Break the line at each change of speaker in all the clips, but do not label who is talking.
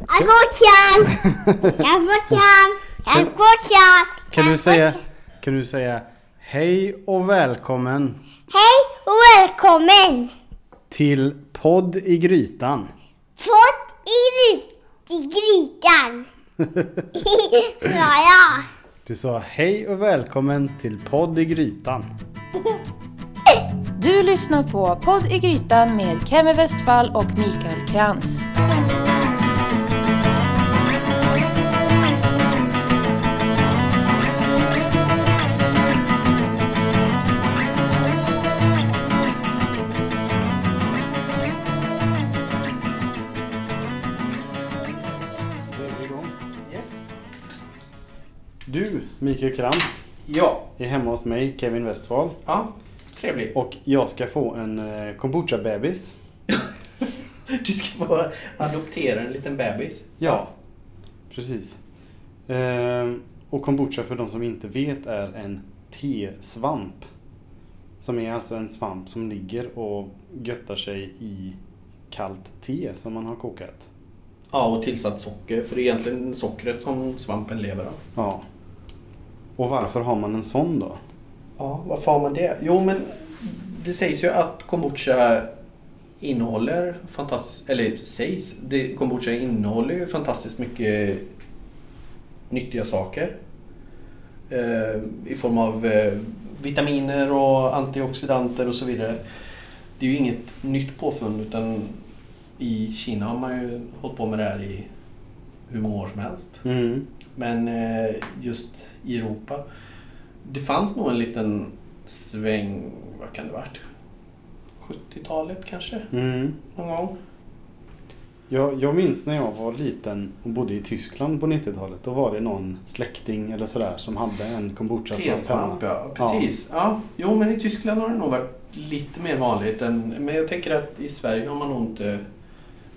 Agotjan! Agotjan! Agotjan!
Kan
Äh,
du säga, kan du säga hej och välkommen
Hej och välkommen!
till podd i grytan?
Fått i rut i grytan! ja, ja.
Du sa hej och välkommen till podd i grytan.
Du lyssnar på Podd i grytan med Kemi Westfall och Mikael Krantz.
Då är vi igång. Du, Mikael Krantz,
Ja.
är hemma hos mig, Kevin Westphal.
Ja. Trevligt.
Och jag ska få en eh, kombucha-bebis.
Du ska bara adoptera en liten bebis.
Ja, precis. Ehm, och kombucha för de som inte vet är en tesvamp. Som är alltså en svamp som ligger och göttar sig i kallt te som man har kokat.
Ja, och tillsatt socker. För det är egentligen sockret som svampen lever av.
Ja. Och varför har man en sån då?
Ja, varför har man det? Jo, men det sägs ju att kombucha innehåller fantastiskt... Eller sägs. Det, kombucha innehåller ju fantastiskt mycket nyttiga saker. Eh, I form av eh, vitaminer och antioxidanter och så vidare. Det är ju inget nytt påfund utan i Kina har man ju hållit på med det här i hur många år som helst.
Mm.
Men eh, just i Europa. Det fanns nog en liten sväng, vad kan det varit? 70-talet kanske?
Mm.
Någon gång?
Jag, jag minns när jag var liten och bodde i Tyskland på 90-talet. Då var det någon släkting eller sådär som hade en kombucha-svamp hemma.
Tesvamp, ja. Precis. Ja. Jo, men i Tyskland har det nog varit lite mer vanligt. Än, men jag tänker att i Sverige har man nog inte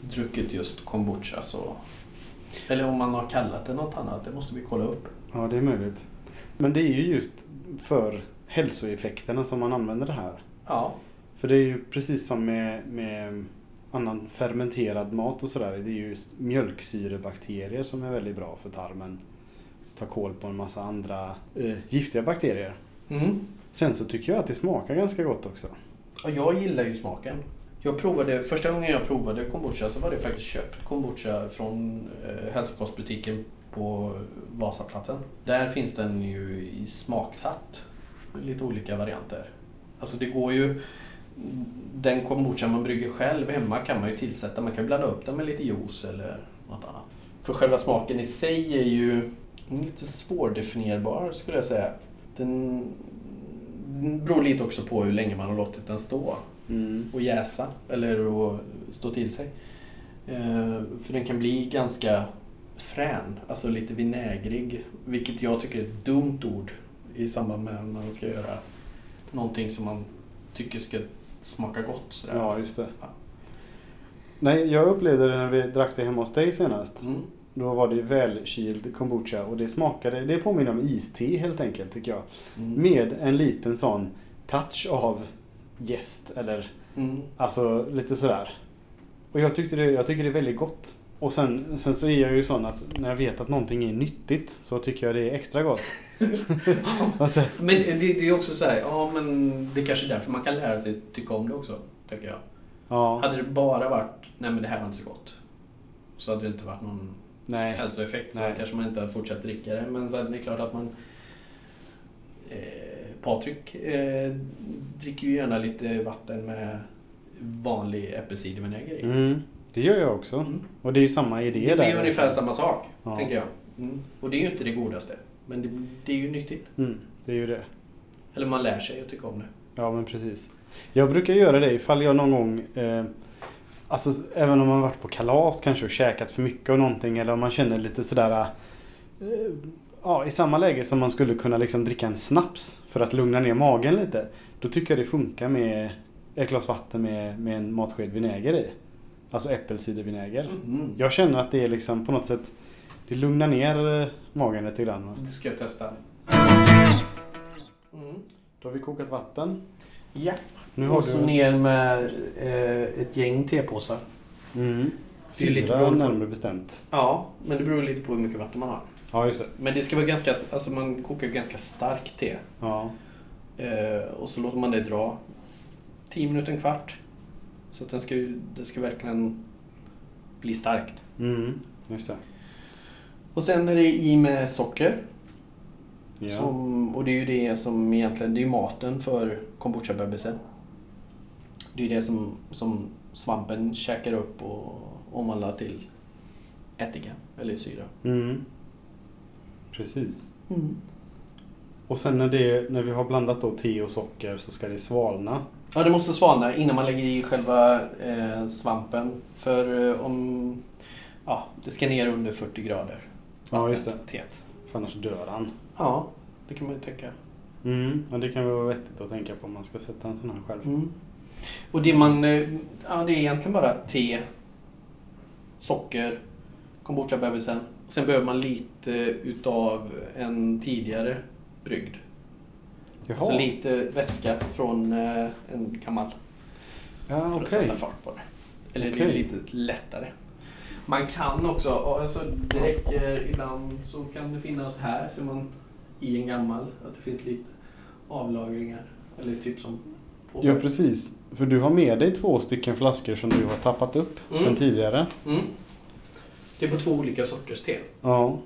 druckit just kombucha. Så. Eller om man har kallat det något annat, det måste vi kolla upp.
Ja, det är möjligt. Men det är ju just för hälsoeffekterna som man använder det här.
Ja,
För det är ju precis som med, med annan fermenterad mat och sådär. Det är ju just mjölksyrebakterier som är väldigt bra för tarmen. Ta koll på en massa andra eh, giftiga bakterier.
mm.
Sen så tycker jag att det smakar ganska gott också.
Ja, jag gillar ju smaken. Jag provade, första gången jag provade kombucha så var det faktiskt köpt kombucha från eh, hälsokostbutiken på Vasaplatsen. Där finns den ju i smaksatt. Lite olika varianter. Alltså det går ju... Den kombucha man brygger själv hemma kan man ju tillsätta. Man kan blanda upp den med lite juice eller något annat. För själva smaken i sig är ju lite svårdefinierbar skulle jag säga. Den beror lite också på hur länge man har låtit den stå och jäsa eller att stå till sig. Eh, För den kan bli ganska frän, alltså lite vinägrig, vilket jag tycker är ett dumt ord i samband med när man ska göra någonting som man tycker ska smaka gott. Sådär.
Ja, just det.
Ja.
Nej, jag upplevde det när vi drack det hemma hos dig senast.
Mm.
Då var det välkyld kombucha och det smakade, det påminner om iste helt enkelt tycker jag.
Mm.
Med en liten sån touch av jäst eller
Mm.
alltså lite sådär. Och jag, tyckte det, jag tycker det är väldigt gott. Och sen, sen så är jag ju sån att när jag vet att någonting är nyttigt så tycker jag det är extra gott. alltså,
Men det, det är också så här, ja men det kanske är därför man kan lära sig tycka om det också, tänker jag.
ja,
Hade det bara varit, nej men det här var inte så gott. Så hade det inte varit någon
nej.
hälsoeffekt så
Nej.
kanske man inte hade fortsatt dricka det. Men sen är det klart att man... Eh, Patrik eh, dricker ju gärna lite vatten med vanlig äppelcidervinäger i.
Mm, det gör jag också.
Mm.
Och det är ju samma idé
Det
där. liksom.
blir ungefär samma sak,
Ja.
tänker jag. Mm. Och det är ju inte det godaste. Men det, det är ju nyttigt.
Mm, det är ju det.
Eller man lär sig att tycka om det.
Ja men precis. Jag brukar göra det ifall jag någon gång, eh, alltså s- även om man varit på kalas kanske och käkat för mycket av någonting eller om man känner lite sådär, eh, ja i samma läge som man skulle kunna liksom dricka en snaps för att lugna ner magen lite. Då tycker jag det funkar med ett glas vatten med, med en matsked vinäger i. Alltså äppelcidervinäger.
Mm.
Jag känner att det är liksom på något sätt, det lugnar ner eh, magen lite grann. va.
Det ska jag testa. Mm.
Då har vi kokat vatten.
Ja.
Nu har
och så
du...
ner med eh, ett gäng tepåsar.
Mm.
Det är ju lite
Fyra
beroende på-
närmare bestämt.
Ja, men det beror lite på hur mycket vatten man har.
Ja, just det.
Men det ska vara ganska, alltså man kokar ju ganska starkt te.
Ja.
Eh, och så låter man det dra 10 minuter, en kvart. Så att den ska, ju- det ska verkligen bli starkt.
Mm, just det.
Och sen är det i med socker.
Ja.
Som, och det är ju det som egentligen, det är ju maten för kombucha-bebisen. Det är ju det som, som svampen käkar upp och omvandlar till ättika, eller syra.
Mm. Precis. Och sen när, det, när vi har blandat då te och socker så ska det svalna.
Ja, det måste svalna innan man lägger i själva eh, svampen. För eh, om... Ja, det ska ner under 40 grader.
Ja, just det.
Tet.
För annars dör han.
Ja, det kan man ju tänka.
Mm, men det kan väl vara vettigt att tänka på om man ska sätta en sån här själv.
Mm. Och det man... eh, Ja, det är egentligen bara te, socker, kombucha-bebisen. Och sen behöver man lite utav en tidigare brygd.
Jaha,
Alltså lite vätska från eh, en gammal.
ja,
för att
okej.
sätta fart på det. Eller det är
Okej.
lite lättare. Man kan också, alltså det räcker ibland så kan det finnas här ser man i en gammal att det finns lite avlagringar. Eller typ som på.
Ja, precis. För du har med dig två stycken flaskor som du har tappat upp
Mm.
sen tidigare.
mm. Det är på två olika sorters te.
Ja,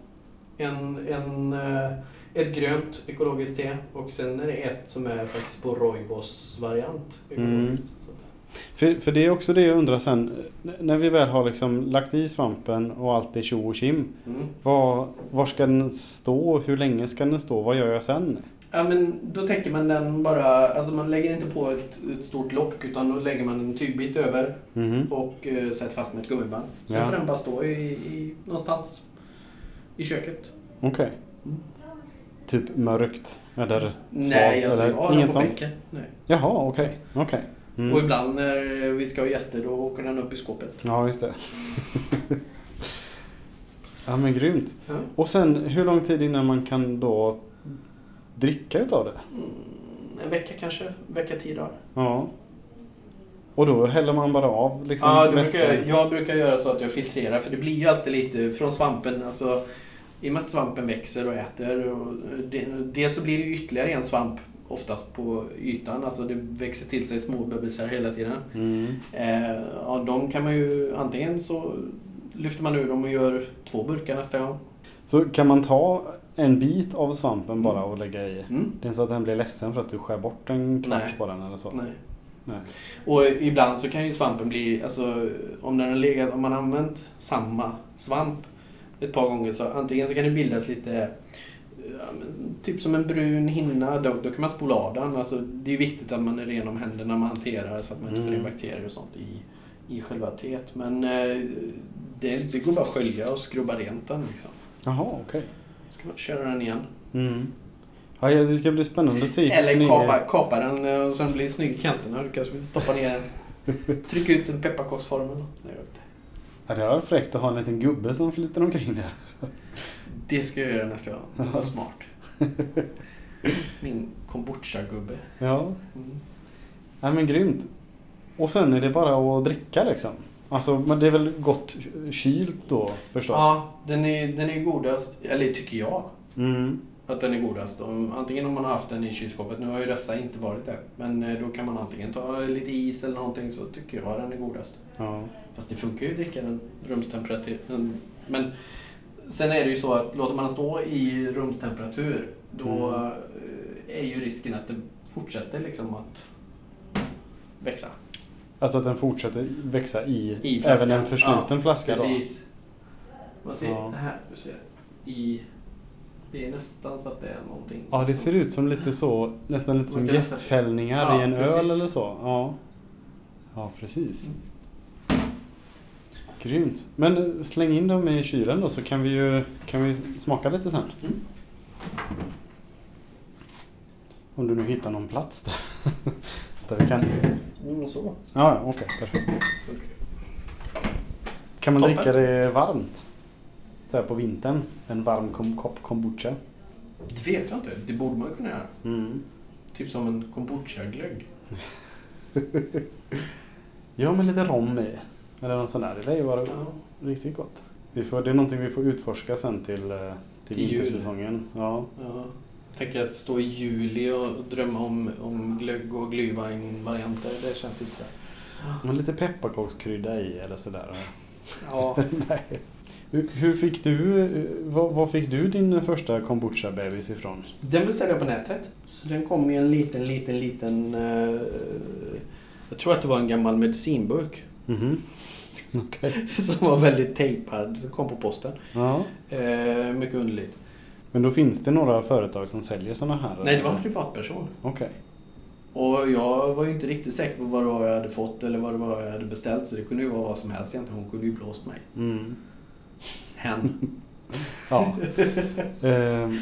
En, en, eh, ett grönt ekologiskt te och sen är det ett som är faktiskt på Roibos variant.
Mm.
ekologiskt.
för, för det är också det jag undrar sen. N- När vi väl har liksom lagt i svampen och allt är tjo och tjim.
Mm.
Var, var ska den stå? Hur länge ska den stå? Vad gör jag sen?
Ja men då tänker man den bara, alltså man lägger inte på ett, ett stort lock utan då lägger man en tygbit över
Mhm.
och eh, sätter fast med ett gummiband. Sen
Ja.
får den bara stå i, i, någonstans i köket.
Okej.
Mm.
Typ mörkt eller svalt?
Nej, alltså jag
eller
har den på bänken. Nej.
Jaha, okej. okej. Mm.
Och ibland när vi ska ha gäster då åker den upp i skåpet.
Ja, just det. ja, men grymt.
Ja.
Och sen, hur lång tid innan man kan då dricka utav det?
En vecka kanske, en vecka, tio dagar.
Ja. Och då häller man bara av liksom
Ja, det brukar
vätskan?
jag, jag brukar göra så att jag filtrerar för det blir ju alltid lite från svampen. Alltså, I och med att svampen växer och äter. Och det, det så blir det ju ytterligare en svamp oftast på ytan. Alltså det växer till sig små bebisar hela tiden.
Mm.
Eh, ja, de kan man ju antingen så lyfter man ur dem och gör två burkar nästa gång.
Så kan man ta en bit av svampen bara och lägga i?
Mm.
Det är inte så att den blir ledsen för att du skär bort en kvarts
Nej.
på den eller så?
Nej.
Nej.
Och ibland så kan ju svampen bli, alltså om den har legat, om man har använt samma svamp ett par gånger så antingen så kan det bildas lite, ja, men typ som en brun hinna, då, då kan man spola av den. Alltså, det är viktigt att man är ren om händerna när man hanterar så att man inte får in
Mm.
bakterier och sånt i, i själva teet. Men eh, det, det går bara att skölja och skrubba rent den liksom.
Jaha, okej.
Ska man köra den igen.
Mm. Ja, ja, det ska bli spännande att se.
Eller
Ni-
kapa, kapa den eh, och sen blir det snygg i kanterna. Du kanske vill stoppa ner den. Tryck ut en pepparkaksform eller något. Nej, jag vet inte.
Ja, det var fräckt att ha en liten gubbe som flyter omkring där.
Det ska jag göra nästa gång. Det var smart. Min kombucha-gubbe.
Ja.
Mm.
Nej men grymt. Och sen är det bara att dricka liksom. Alltså men det är väl gott kylt då förstås?
Ja, den är, den är godast, eller tycker jag
Mm.
att den är godast. Om, antingen om man har haft den i kylskåpet, nu har ju dessa inte varit det. Men eh, då kan man antingen ta lite is eller någonting så tycker jag den är godast.
Ja.
Fast det funkar ju att dricka den rumstemperatur. den- Men sen är det ju så att låter man den stå i rumstemperatur då
Mm.
eh, är ju risken att det fortsätter liksom att växa.
Alltså att den fortsätter växa i,
I flaskan.
även en försluten flaska då?
Precis. Man ser
Ja.
här, du ser. I, det är nästan så att det är någonting.
Ja det ser ut som lite så, nästan lite som
Man kan nästan-
jästfällningar
Ja,
i en
precis.
öl eller så. Ja, ja precis.
Mm.
Grymt. Men eh, släng in dem i kylen då så kan vi ju kan vi smaka lite sen.
Mm.
Om du nu hittar någon plats där. där vi kan...
Mm, så.
Ja, ja, okej. perfekt. Kan man
Toppen.
dricka det varmt? Så här på vintern. En varm kom- kopp kombucha.
Det vet jag inte. Det borde man ju kunna göra.
Mm.
Typ som en kombucha-glögg.
Ja, med lite rom i. Eller något sånt där. Det lär ju vara
Ja.
riktigt gott. Vi får, det är någonting vi får utforska sen till, eh, till
Till jul.
vintersäsongen. Ja.
Ja. Tänk att stå i juli och drömma om, om glögg och glühwein-varianter. Det känns ju sådär.
Men lite pepparkakskrydda i eller sådär.
Ja.
Nej. Hur, hur fick du, eh, var, var fick du din första kombucha-bebis ifrån?
Den beställde jag på nätet. Så den kom i en liten, liten, liten... eh, jag tror att det var en gammal medicinburk.
Mhm. Okej.
Som var väldigt tejpad. Som kom på posten.
Ja.
Eh, mycket underligt.
Men då finns det några företag som säljer sådana här?
Nej, det var en
eller?
privatperson.
Okej.
Och jag var ju inte riktigt säker på vad det var jag hade fått eller vad det var jag hade beställt. Så det kunde ju vara vad som helst egentligen. Hon kunde ju blåst mig.
Mm.
Hen.
Ja. Ehm,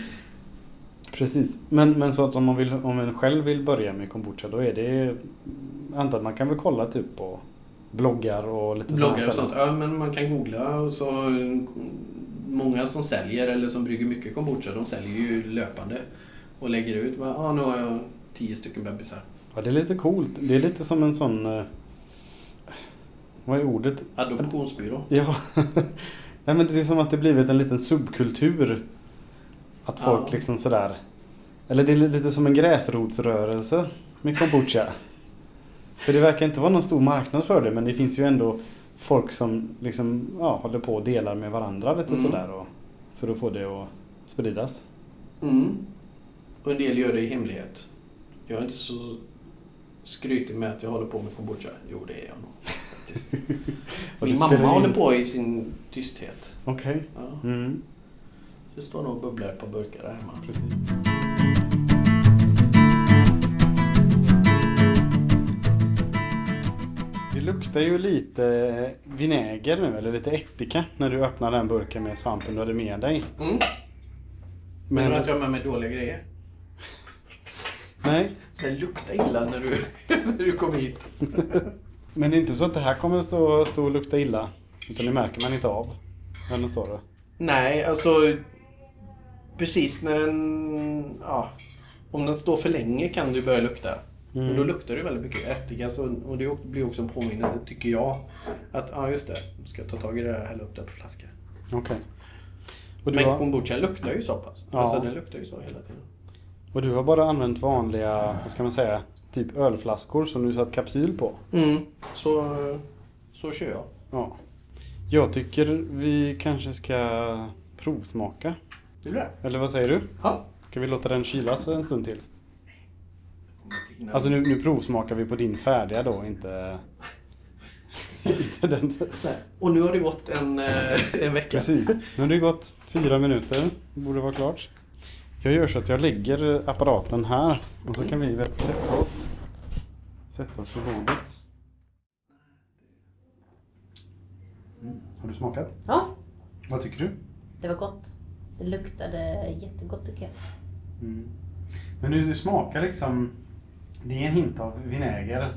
precis. Men, men så att om man, vill, om man själv vill börja med kombucha då är det... Antar att man kan väl kolla typ på bloggar och lite såna här
Bloggar och sånt.
ställen.
Ja, men man kan googla och så... Många som säljer eller som brygger mycket kombucha, de säljer ju löpande. Och lägger ut. Bara, ah, nu har jag tio stycken bebisar.
Ja, det är lite coolt. Det är lite som en sån... eh, Vad är ordet?
Adoptionsbyrå.
Ja. Nej men det är som att det blivit en liten subkultur. Att folk
Ja.
liksom sådär. Eller det är lite som en gräsrotsrörelse med kombucha. för det verkar inte vara någon stor marknad för det men det finns ju ändå folk som liksom ja, håller på och delar med varandra lite
Mm.
sådär. Och, för att få det att spridas.
Mm. Och en del gör det i hemlighet. Jag är inte så skrytig med att jag håller på med kombucha. Jo, det är jag nog. faktiskt.
Och
Min
det
mamma
spelar in.
håller på i sin tysthet.
Okej.
Ja.
Mm,
Det står nog och bubblar på burkar där hemma.
precis. Det luktar ju lite vinäger nu, eller lite ättika, när du öppnar den burken med svampen du hade med dig.
Mm. Menar du
Men,
att jag har med mig dåliga grejer?
nej,
Sen lukta illa när du, när du kom hit.
men det är inte så att det här kommer stå, stå och lukta illa. Utan det märker man inte av. Eller står det?
Nej, alltså... Precis när den... Ja, om den står för länge kan du börja lukta. Men
Mm.
då luktar det väldigt mycket ättika. så- Och det blir också en påminnelse, tycker jag. Att ja, just det. Ska jag ta tag i det här och hälla upp det på flaska.
Okej. Och, du
Men
har-
kombucha luktar ju så pass.
Ja.
Alltså den luktar ju så hela tiden.
och du har bara använt vanliga, vad ska man säga, typ ölflaskor som du satt kapsyl på.
Mm. Så, så kör jag.
Ja. Jag tycker vi kanske ska provsmaka.
Vill du det?
Eller vad säger du?
Ja.
Ska vi låta den kylas en stund till? Alltså nu, nu provsmakar vi på din färdiga då, inte... inte den.
Och nu har det gått en, eh, en vecka.
Precis. Nu har det gått fyra minuter. Det borde vara klart. Jag gör så att jag lägger apparaten här och så kan vi väl sätta oss. Sätta oss vid bordet. Har du smakat?
Ja,
Vad tycker du?
det var gott. Det luktade jättegott tycker jag.
Mm. Men du, du smakar liksom... Det är en hint av vinäger.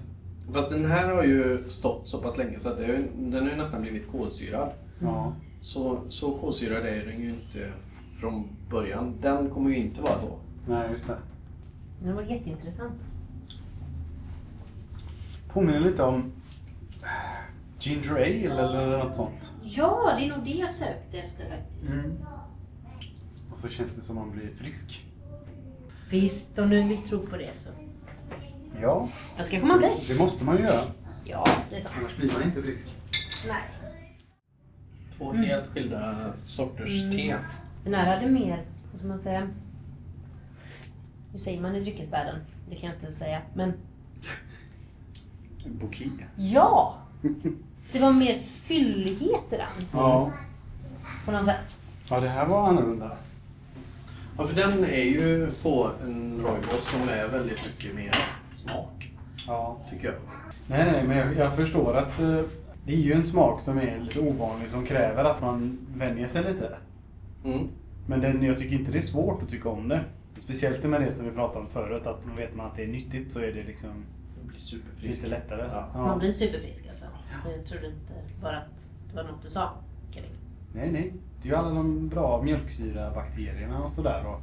Fast den här har ju stått så pass länge så att det har ju, den har ju nästan blivit kolsyrad.
Ja.
Så, så kolsyrad är den ju inte från början. Den kommer ju inte vara då.
Nej, just det.
Men Det var jätteintressant.
Påminner lite om eh, ginger ale eller något sånt.
Ja, det är nog det jag sökte efter faktiskt.
Och så känns det som man blir frisk.
Visst, om du vill tro på det så.
Ja,
Jag ska komma bli.
det måste man ju göra.
Ja, det är sant.
Annars blir man inte frisk.
Nej.
Två
Mm.
helt skilda sorters te.
Den här hade mer, vad ska man säga? Hur säger man i dryckesvärlden? Det kan jag inte säga. Men
Boki.
ja! Det var mer fyllighet i den
Ja.
på något sätt.
ja, det här var annorlunda.
Ja, för den är ju på en roibos som är väldigt mycket mer smak,
Ja.
tycker jag.
Nej, nej, men jag, jag förstår att eh, det är ju en smak som är lite ovanlig som kräver att man vänjer sig lite.
Mm.
Men den, jag tycker inte det är svårt att tycka om det. Speciellt med det som vi pratade om förut, att man vet man att det är nyttigt så är det liksom
Den blir superfrisk.
lite lättare.
Ja.
Man blir superfrisk alltså. Jag trodde inte bara att det var något du sa, Kevin.
Nej, nej. Det är ju alla de bra mjölksyrabakterierna och sådär. Och,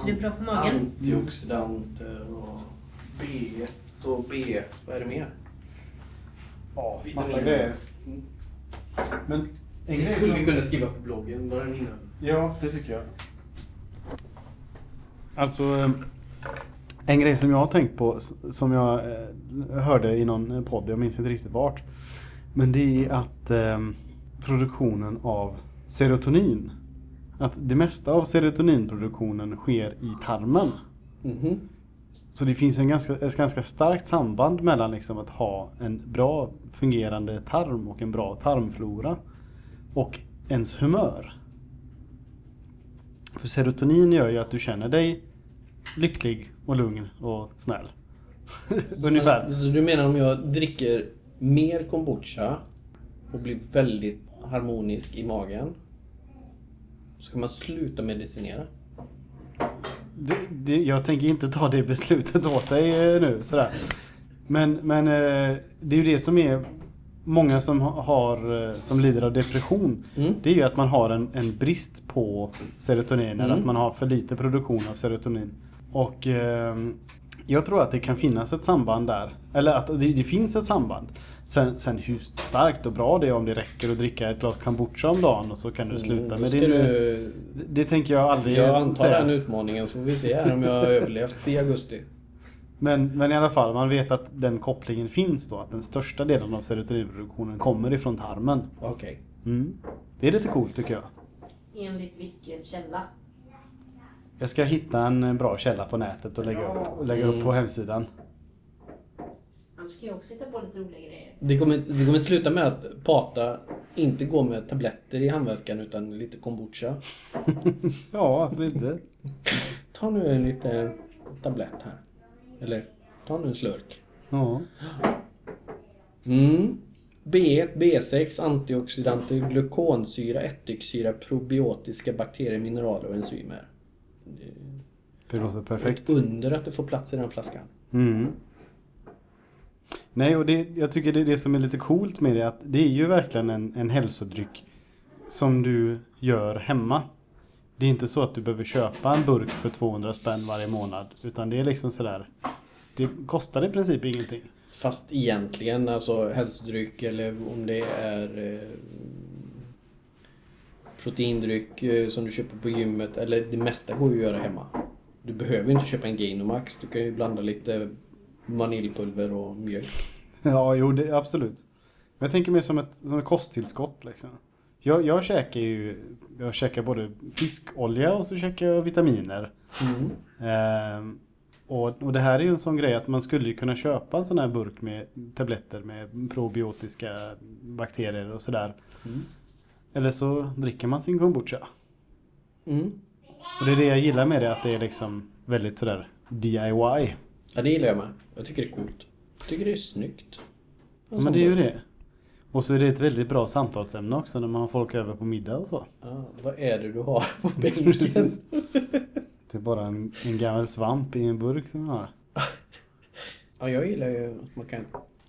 Så det är bra för magen.
Antioxidanter och B1 och B... Vad är det mer?
ja,
Vidare.
massa grejer. Men en
Det
grej
skulle vi
som,
kunna skriva på bloggen, bara den innan.
Ja, det tycker jag. Alltså, eh, en grej som jag har tänkt på, s- som jag eh, hörde i någon podd, jag minns inte riktigt vart. Men det är att eh, produktionen av serotonin, att det mesta av serotoninproduktionen sker i tarmen. Mhm. Så det finns en ganska, ett ganska starkt samband mellan liksom att ha en bra fungerande tarm och en bra tarmflora och ens humör. För serotonin gör ju att du känner dig lycklig och lugn och snäll. Ungefär.
Alltså, Så du menar om jag dricker mer kombucha och blir väldigt harmonisk i magen så kan man sluta medicinera?
Det, det, jag tänker inte ta det beslutet åt dig eh, nu. Sådär. Men, men eh, det är ju det som är många som, ha- har, eh, som lider av depression.
Mm.
Det är ju att man har en, en brist på serotonin eller
Mm.
att man har för lite produktion av serotonin. Och ehm, jag tror att det kan finnas ett samband där. Eller att det, det finns ett samband. Sen, sen hur starkt och bra det är om det räcker att dricka ett glas kombucha om dagen och så kan du sluta
Mm,
med
då
din... eh,
ska du-
Det- Det tänker jag aldrig
Jag antar
säga.
den utmaningen så får vi se här om jag har överlevt i augusti.
Men, men i alla fall, man vet att den kopplingen finns då. Att den största delen av serotoninproduktionen kommer ifrån tarmen.
Okej.
Mm. Det är lite coolt tycker jag.
Enligt vilken källa?
Jag ska hitta en eh, bra källa på nätet och lägga upp, och lägga upp på hemsidan.
Annars kan jag också hitta på lite roliga grejer.
Det, kommer, det kommer sluta med att Pata inte går med tabletter i handväskan utan lite kombucha.
Ja, varför inte?
Ta nu en liten tablett här. Eller ta nu en slurk.
Ja.
Mm. B1, B6, antioxidanter, glukonsyra, ättiksyra, probiotiska bakterier, mineraler och enzymer.
Det låter perfekt.
Under att du får plats i den flaskan.
Mm. Nej, och det, jag tycker det är det som är lite coolt med det. Att det är ju verkligen en, en hälsodryck som du gör hemma. Det är inte så att du behöver köpa en burk för 200 spänn varje månad. Utan det är liksom sådär. Det kostar i princip ingenting.
Fast egentligen, alltså hälsodryck eller om det är eh, proteindryck eh, som du köper på gymmet. Eller det mesta går ju att göra hemma. Du behöver ju inte köpa en Gainomax. Du kan ju blanda lite vaniljpulver och mjölk.
Ja, jo, det, absolut. Men jag tänker mer som ett, som ett kosttillskott. Liksom. Jag, jag käkar ju jag käkar både fiskolja och så käkar jag vitaminer. Ehm, och, och det här är ju en sån grej att man skulle ju kunna köpa en sån här burk med tabletter med probiotiska bakterier och sådär. Eller så dricker man sin kombucha.
Mm.
Och det är det jag gillar med det, att det är liksom väldigt sådär DIY.
Ja, det gillar jag med. Jag tycker det är coolt. Jag tycker det är snyggt.
Ja, men det är ju det. Och så är det ett väldigt bra samtalsämne också när man har folk över på middag och så.
Ja, vad är det du har på bänken?
Precis. Det är bara en, en gammal svamp i en burk som jag har.
ja, jag gillar ju att man kan...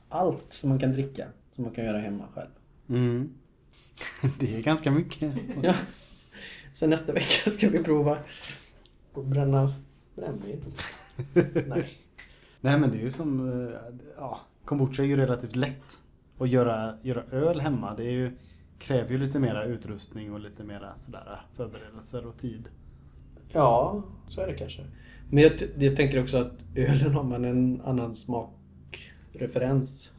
Allt som man kan dricka, som man kan göra hemma själv.
Mm. Det är ganska mycket.
Ja. Sen nästa vecka ska vi prova att bränna brännvin. Nej.
Nej men det är ju som, eh, ja, kombucha är ju relativt lätt. Att göra, göra öl hemma, det är ju, kräver ju lite mera utrustning och lite mera sådär förberedelser och tid.
Ja, så är det kanske. Men jag, t- jag tänker också att ölen har man en annan smakreferens.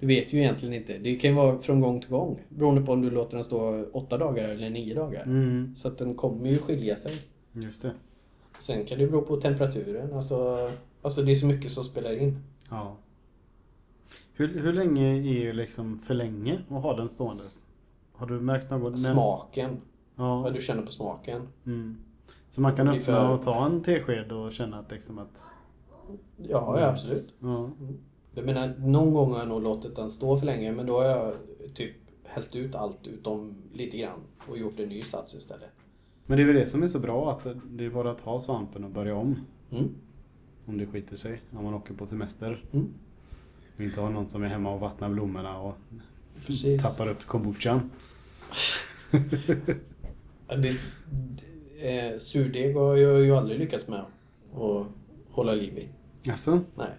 Du vet ju egentligen inte. Det kan ju vara från gång till gång. Beroende på om du låter den stå åtta dagar eller nio dagar.
Mm,
Så att den kommer ju skilja sig.
just det.
Sen kan det bero på temperaturen. Alltså, alltså det är så mycket som spelar in.
Ja. Hur, hur länge är ju liksom för länge att ha den ståendes? Har du märkt något?
Smaken.
Ja.
Vad du känner på smaken.
Mm. Så man kan
Det blir
öppna
för-
och ta en tesked och känna att liksom att...
Ja, ja absolut.
Ja.
Jag menar, någon gång har jag nog låtit den stå för länge men då har jag typ hällt ut allt utom lite grann och gjort en ny sats istället.
Men det är väl det som är så bra att det- det är bara att ta svampen och börja om.
Mm.
Om det skiter sig. När man åker på semester.
Mm.
Och inte har någon som är hemma och vattnar blommorna och
Precis.
tappar upp kombuchan.
Ja, Det, det, eh, surdeg har jag ju aldrig lyckats med att hålla liv i.
Jaså?
Nej.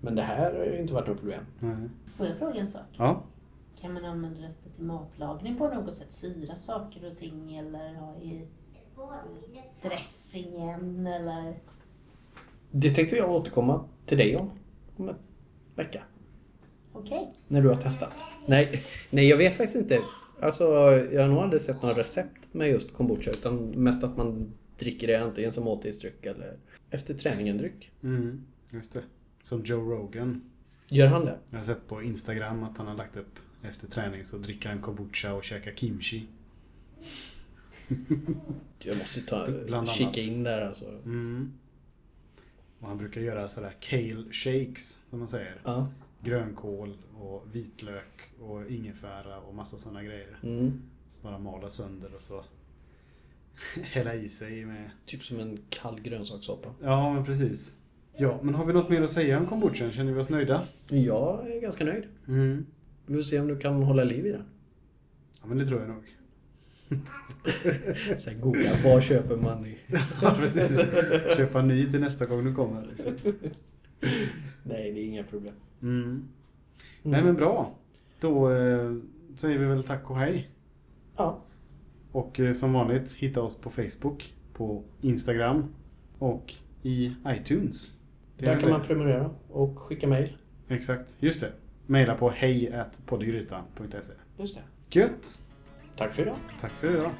Men det här har ju inte varit något problem.
Nej.
Får jag fråga en sak?
Ja.
Kan man använda detta till matlagning på något sätt? Syra saker och ting eller ha i dressingen eller...
Det tänkte jag återkomma till dig om. Om en vecka.
Okej.
När du har testat. Nej, nej jag vet faktiskt inte. Alltså, jag har nog aldrig sett några recept med just kombucha. Utan mest att man dricker det antingen som måltidsdryck eller efter träningen dryck.
Mm, just det. Som Joe Rogan.
Gör han det?
Jag har sett på Instagram att han har lagt upp efter träning så dricker han kombucha och käkar kimchi.
Jag måste ta,
Bland annat.
kika in där alltså.
Mm. Och han brukar göra sådär kale shakes som man säger.
Ja.
Grönkål och vitlök och ingefära och massa sådana grejer.
Mm.
Så bara mala sönder och så hälla i sig med...
Typ som en kall grönsakssoppa.
Ja, men precis. Ja, men har vi något mer att säga om kombuchan? Känner vi oss nöjda?
Jag är ganska nöjd.
Mm.
Vi får se om du kan hålla liv i den.
Ja, men det tror jag nog.
Sen googla, vad köper man i?
Ja, precis. Köpa ny till nästa gång du kommer. Liksom.
Nej, det är inga problem.
Mm. Nej, men bra. Då eh, säger vi väl tack och hej.
Ja.
Och eh, som vanligt, hitta oss på Facebook, på Instagram och i iTunes. Det är
Där
väl
kan
det.
man prenumerera och skicka mejl.
Exakt, just det. Maila på hejpoddgrytan.se
Just det.
Gött!
Tack för idag.
Tack för idag.